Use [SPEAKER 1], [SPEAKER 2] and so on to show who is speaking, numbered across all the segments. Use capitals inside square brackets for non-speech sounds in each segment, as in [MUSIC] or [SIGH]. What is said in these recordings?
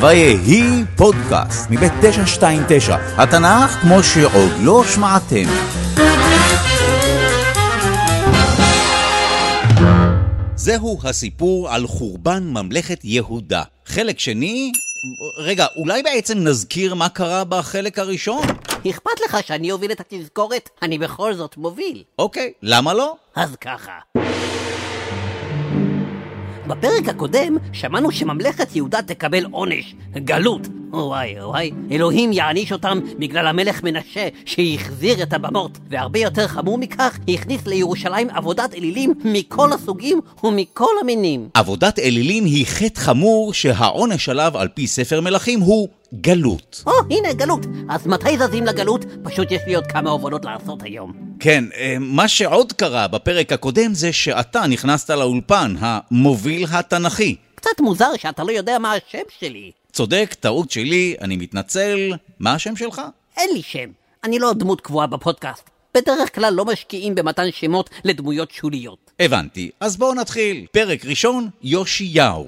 [SPEAKER 1] ויהי פודקאסט מבית 929, התנ"ך כמו שעוד לא שמעתם. זהו הסיפור על חורבן ממלכת יהודה. חלק שני... רגע, אולי בעצם נזכיר מה קרה בחלק הראשון?
[SPEAKER 2] אכפת לך שאני אוביל את התזכורת? אני בכל זאת מוביל.
[SPEAKER 1] אוקיי, למה לא?
[SPEAKER 2] אז ככה. בפרק הקודם שמענו שממלכת יהודה תקבל עונש, גלות. וואי וואי, אלוהים יעניש אותם בגלל המלך מנשה שהחזיר את הבמות. והרבה יותר חמור מכך, הכניס לירושלים עבודת אלילים מכל הסוגים ומכל המינים.
[SPEAKER 1] עבודת אלילים היא חטא חמור שהעונש עליו על פי ספר מלכים הוא גלות.
[SPEAKER 2] או, הנה גלות. אז מתי זזים לגלות? פשוט יש לי עוד כמה הובלות לעשות היום.
[SPEAKER 1] כן, אה, מה שעוד קרה בפרק הקודם זה שאתה נכנסת לאולפן, המוביל התנ"כי.
[SPEAKER 2] קצת מוזר שאתה לא יודע מה השם שלי.
[SPEAKER 1] צודק, טעות שלי, אני מתנצל. מה השם שלך?
[SPEAKER 2] אין לי שם. אני לא דמות קבועה בפודקאסט. בדרך כלל לא משקיעים במתן שמות לדמויות שוליות.
[SPEAKER 1] הבנתי. אז בואו נתחיל. פרק ראשון, יאשיהו.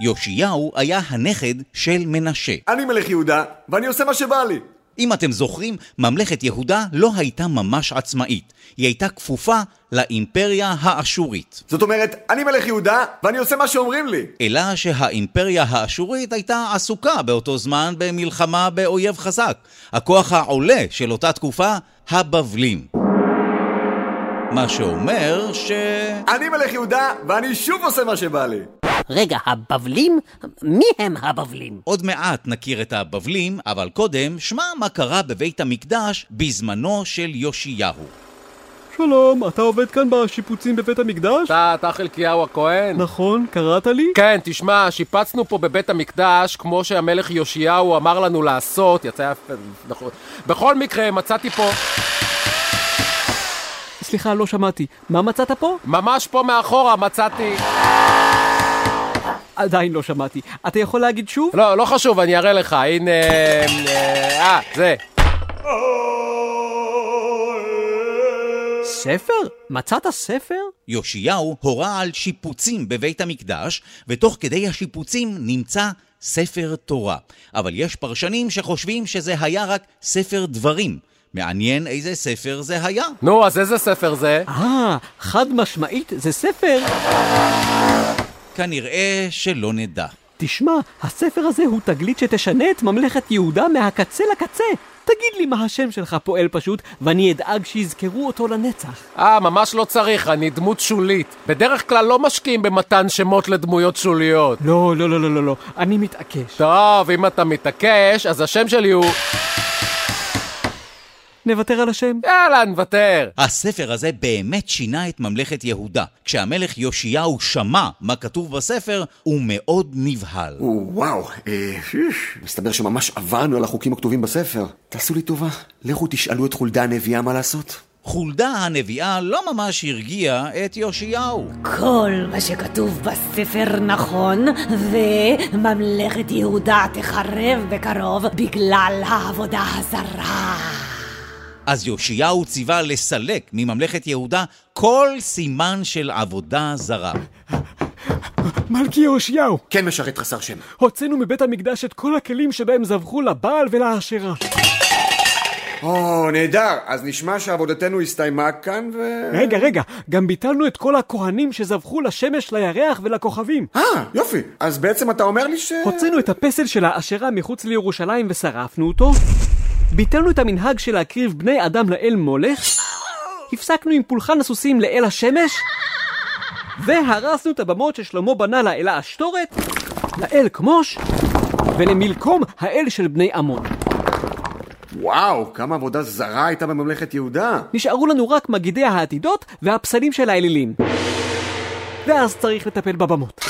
[SPEAKER 1] יאשיהו היה הנכד של מנשה.
[SPEAKER 3] אני מלך יהודה, ואני עושה מה שבא לי.
[SPEAKER 1] אם אתם זוכרים, ממלכת יהודה לא הייתה ממש עצמאית. היא הייתה כפופה לאימפריה האשורית.
[SPEAKER 3] זאת אומרת, אני מלך יהודה, ואני עושה מה שאומרים לי.
[SPEAKER 1] אלא שהאימפריה האשורית הייתה עסוקה באותו זמן במלחמה באויב חזק. הכוח העולה של אותה תקופה, הבבלים. מה שאומר ש...
[SPEAKER 3] אני מלך יהודה, ואני שוב עושה מה שבא לי.
[SPEAKER 2] רגע, הבבלים? מי הם הבבלים?
[SPEAKER 1] עוד מעט נכיר את הבבלים, אבל קודם, שמע מה קרה בבית המקדש בזמנו של יאשיהו.
[SPEAKER 4] שלום, אתה עובד כאן בשיפוצים בבית המקדש?
[SPEAKER 5] אתה, אתה חלקיהו הכהן?
[SPEAKER 4] נכון, קראת לי?
[SPEAKER 5] כן, תשמע, שיפצנו פה בבית המקדש, כמו שהמלך יאשיהו אמר לנו לעשות, יצא יפה, נכון. בכל מקרה, מצאתי פה,
[SPEAKER 4] סליחה, לא שמעתי. מה מצאת פה?
[SPEAKER 5] ממש פה מאחורה מצאתי...
[SPEAKER 4] עדיין לא שמעתי. אתה יכול להגיד שוב?
[SPEAKER 5] לא, לא חשוב, אני אראה לך, הנה... אה, אה, זה.
[SPEAKER 4] ספר? מצאת ספר?
[SPEAKER 1] יאשיהו הורה על שיפוצים בבית המקדש, ותוך כדי השיפוצים נמצא ספר תורה. אבל יש פרשנים שחושבים שזה היה רק ספר דברים. מעניין איזה ספר זה היה.
[SPEAKER 5] נו, אז איזה ספר זה?
[SPEAKER 4] אה, חד משמעית, זה ספר.
[SPEAKER 1] כנראה שלא נדע.
[SPEAKER 4] תשמע, הספר הזה הוא תגלית שתשנה את ממלכת יהודה מהקצה לקצה. תגיד לי מה השם שלך פועל פשוט, ואני אדאג שיזכרו אותו לנצח.
[SPEAKER 5] אה, ממש לא צריך, אני דמות שולית. בדרך כלל לא משקיעים במתן שמות לדמויות שוליות.
[SPEAKER 4] לא, לא, לא, לא, לא, לא, אני מתעקש.
[SPEAKER 5] טוב, אם אתה מתעקש, אז השם שלי הוא...
[SPEAKER 4] נוותר על השם?
[SPEAKER 5] יאללה, נוותר.
[SPEAKER 1] הספר הזה באמת שינה את ממלכת יהודה. כשהמלך יאשיהו שמע מה כתוב בספר, הוא מאוד נבהל.
[SPEAKER 3] וואו, אה, שיש. מסתבר שממש עברנו על החוקים הכתובים בספר. תעשו לי טובה, לכו תשאלו את חולדה הנביאה מה לעשות.
[SPEAKER 1] חולדה הנביאה לא ממש הרגיעה את יאשיהו.
[SPEAKER 6] כל מה שכתוב בספר נכון, וממלכת יהודה תחרב בקרוב בגלל העבודה הזרה.
[SPEAKER 1] אז יאשיהו ציווה לסלק מממלכת יהודה כל סימן של עבודה זרה.
[SPEAKER 4] מלכי יאשיהו,
[SPEAKER 3] כן משרת חסר שם.
[SPEAKER 4] הוצאנו מבית המקדש את כל הכלים שבהם זבחו לבעל ולאשרה.
[SPEAKER 3] או, נהדר. אז נשמע שעבודתנו הסתיימה כאן ו...
[SPEAKER 4] רגע, רגע, גם ביטלנו את כל הכהנים שזבחו לשמש, לירח ולכוכבים.
[SPEAKER 3] אה, יופי. אז בעצם אתה אומר לי ש...
[SPEAKER 4] הוצאנו את הפסל של האשרה מחוץ לירושלים ושרפנו אותו, ביטלנו את המנהג של להקריב בני אדם לאל מולך, הפסקנו עם פולחן הסוסים לאל השמש, והרסנו את הבמות ששלמה בנה לאלה השטורת, לאל כמוש, ולמלקום האל של בני עמון.
[SPEAKER 3] וואו, כמה עבודה זרה הייתה בממלכת יהודה.
[SPEAKER 4] נשארו לנו רק מגידי העתידות והפסלים של האלילים. ואז צריך לטפל בבמות.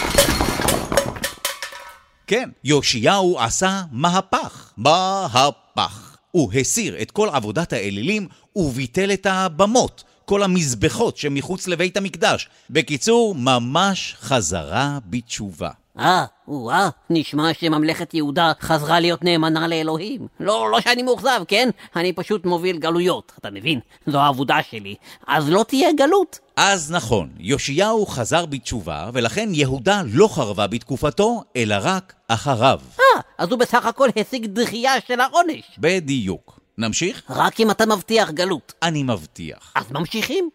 [SPEAKER 1] כן, יאשיהו עשה מהפך. מהפך. הוא הסיר את כל עבודת האלילים וביטל את הבמות, כל המזבחות שמחוץ לבית המקדש. בקיצור, ממש חזרה בתשובה.
[SPEAKER 2] אה, או-אה, נשמע שממלכת יהודה חזרה להיות נאמנה לאלוהים. לא, לא שאני מאוכזב, כן? אני פשוט מוביל גלויות, אתה מבין? זו העבודה שלי. אז לא תהיה גלות.
[SPEAKER 1] אז נכון, יאשיהו חזר בתשובה, ולכן יהודה לא חרבה בתקופתו, אלא רק אחריו.
[SPEAKER 2] אה, אז הוא בסך הכל השיג דחייה של העונש.
[SPEAKER 1] בדיוק. נמשיך?
[SPEAKER 2] רק אם אתה מבטיח גלות.
[SPEAKER 1] אני מבטיח.
[SPEAKER 2] אז ממשיכים.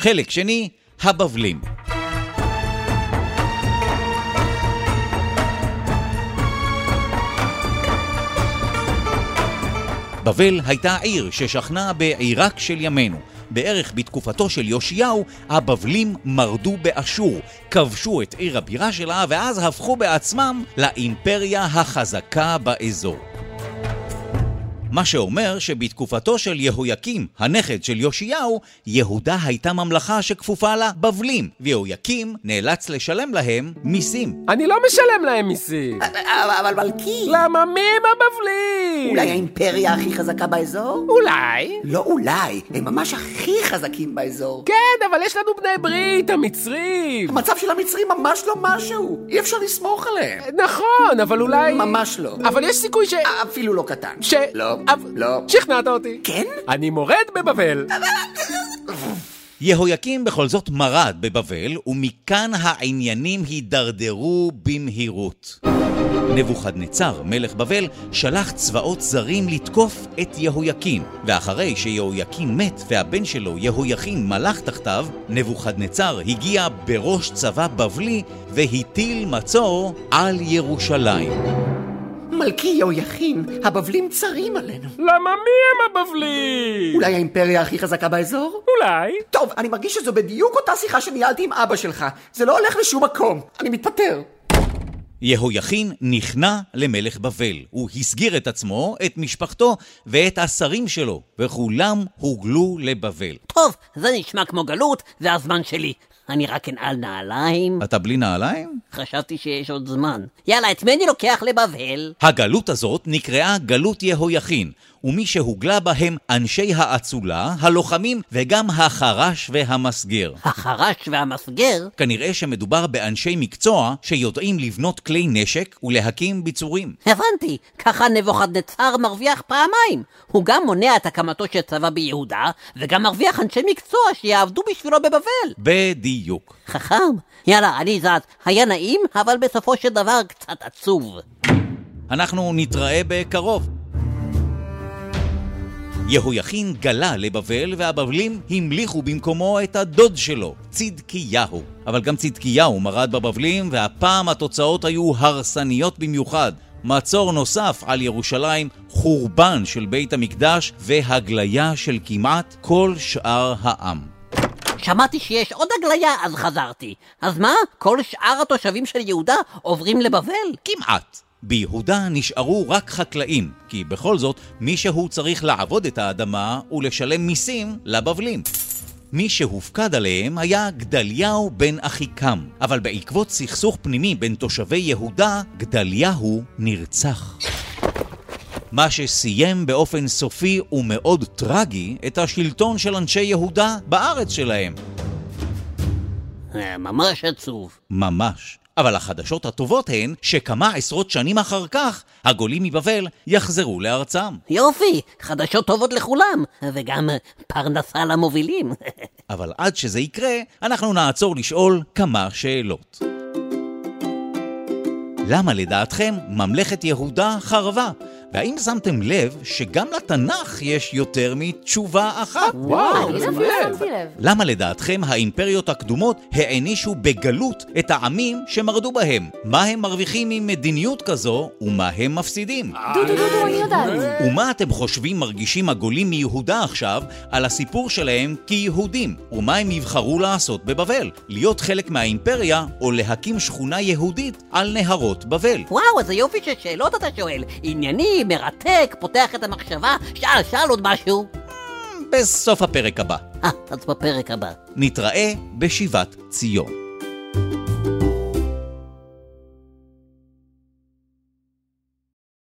[SPEAKER 1] חלק שני, הבבלים. בבל הייתה עיר ששכנה בעיראק של ימינו. בערך בתקופתו של יאשיהו, הבבלים מרדו באשור, כבשו את עיר הבירה שלה, ואז הפכו בעצמם לאימפריה החזקה באזור. מה שאומר שבתקופתו של יהויקים, הנכד של יאשיהו, יהודה הייתה ממלכה שכפופה לבבלים, ויהויקים נאלץ לשלם להם מיסים.
[SPEAKER 5] אני לא משלם להם מיסים.
[SPEAKER 7] אבל מלכי,
[SPEAKER 5] למה מי הם הבבלים?
[SPEAKER 7] אולי האימפריה הכי חזקה באזור?
[SPEAKER 5] אולי.
[SPEAKER 7] לא אולי, הם ממש הכי חזקים באזור.
[SPEAKER 5] כן, אבל יש לנו בני ברית, המצרים.
[SPEAKER 7] המצב של המצרים ממש לא משהו, אי אפשר לסמוך עליהם.
[SPEAKER 5] נכון, אבל אולי...
[SPEAKER 7] ממש לא.
[SPEAKER 5] אבל יש סיכוי ש...
[SPEAKER 7] אפילו לא קטן.
[SPEAKER 5] ש...
[SPEAKER 7] לא,
[SPEAKER 5] אבל-
[SPEAKER 7] לא.
[SPEAKER 5] שכנעת אותי.
[SPEAKER 7] כן?
[SPEAKER 5] אני מורד בבבל.
[SPEAKER 1] יהויקים בכל זאת מרד בבבל, ומכאן העניינים הידרדרו במהירות. נבוכדנצר, מלך בבל, שלח צבאות זרים לתקוף את יהויקים, ואחרי שיהויקים מת והבן שלו, יהויכין, מלך תחתיו, נבוכדנצר הגיע בראש צבא בבלי והטיל מצור על ירושלים.
[SPEAKER 7] מלכי יהויכין, הבבלים צרים עלינו.
[SPEAKER 5] למה מי הם הבבלים?
[SPEAKER 7] אולי האימפריה הכי חזקה באזור?
[SPEAKER 5] אולי.
[SPEAKER 7] טוב, אני מרגיש שזו בדיוק אותה שיחה שניהלתי עם אבא שלך. זה לא הולך לשום מקום. אני מתפטר.
[SPEAKER 1] יהויכין נכנע למלך בבל. הוא הסגיר את עצמו, את משפחתו ואת השרים שלו, וכולם הוגלו לבבל.
[SPEAKER 2] טוב, זה נשמע כמו גלות, זה הזמן שלי. אני רק אנעל נעליים.
[SPEAKER 1] אתה בלי נעליים?
[SPEAKER 2] חשבתי שיש עוד זמן. יאללה, את מי אני לוקח לבבל?
[SPEAKER 1] הגלות הזאת נקראה גלות יהויכין, ומי שהוגלה בהם אנשי האצולה, הלוחמים וגם החרש והמסגר.
[SPEAKER 2] החרש והמסגר?
[SPEAKER 1] כנראה שמדובר באנשי מקצוע שיודעים לבנות כלי נשק ולהקים ביצורים.
[SPEAKER 2] הבנתי, ככה נבוכדנצר מרוויח פעמיים. הוא גם מונע את הקמתו של צבא ביהודה, וגם מרוויח אנשי מקצוע שיעבדו בשבילו בבבל.
[SPEAKER 1] בדיוק.
[SPEAKER 2] חכם. יאללה, אני זז. היה נעים, אבל בסופו של דבר קצת עצוב.
[SPEAKER 1] אנחנו נתראה בקרוב. יהויכין גלה לבבל, והבבלים המליכו במקומו את הדוד שלו, צדקיהו. אבל גם צדקיהו מרד בבבלים, והפעם התוצאות היו הרסניות במיוחד. מצור נוסף על ירושלים, חורבן של בית המקדש והגליה של כמעט כל שאר העם.
[SPEAKER 2] שמעתי שיש עוד הגליה, אז חזרתי. אז מה? כל שאר התושבים של יהודה עוברים לבבל?
[SPEAKER 1] כמעט. ביהודה נשארו רק חקלאים, כי בכל זאת מישהו צריך לעבוד את האדמה ולשלם מיסים לבבלים. מי שהופקד עליהם היה גדליהו בן אחיקם, אבל בעקבות סכסוך פנימי בין תושבי יהודה, גדליהו נרצח. מה שסיים באופן סופי ומאוד טרגי את השלטון של אנשי יהודה בארץ שלהם.
[SPEAKER 2] אה, ממש עצוב.
[SPEAKER 1] ממש. אבל החדשות הטובות הן שכמה עשרות שנים אחר כך, הגולים מבבל יחזרו לארצם.
[SPEAKER 2] יופי, חדשות טובות לכולם, וגם אה, פרנסה למובילים. [LAUGHS]
[SPEAKER 1] אבל עד שזה יקרה, אנחנו נעצור לשאול כמה שאלות. למה לדעתכם ממלכת יהודה חרבה? והאם שמתם לב שגם לתנ"ך יש יותר מתשובה אחת?
[SPEAKER 5] וואו,
[SPEAKER 8] אני
[SPEAKER 5] זה
[SPEAKER 8] אפילו לא
[SPEAKER 5] מעניין.
[SPEAKER 8] שמתי לב.
[SPEAKER 1] למה לדעתכם האימפריות הקדומות הענישו בגלות את העמים שמרדו בהם? מה הם מרוויחים ממדיניות כזו ומה הם מפסידים?
[SPEAKER 8] דודו, דודו, אני יודעת.
[SPEAKER 1] ומה אתם חושבים מרגישים הגולים מיהודה עכשיו על הסיפור שלהם כיהודים? ומה הם יבחרו לעשות בבבל? להיות חלק מהאימפריה או להקים שכונה יהודית על נהרות בבל?
[SPEAKER 2] וואו, איזה יופי של שאלות אתה שואל. ענייני, מרתק, פותח את המחשבה. שאל, שאל עוד משהו.
[SPEAKER 1] בסוף הפרק הבא.
[SPEAKER 2] אה, אז בפרק הבא.
[SPEAKER 1] נתראה בשיבת ציון.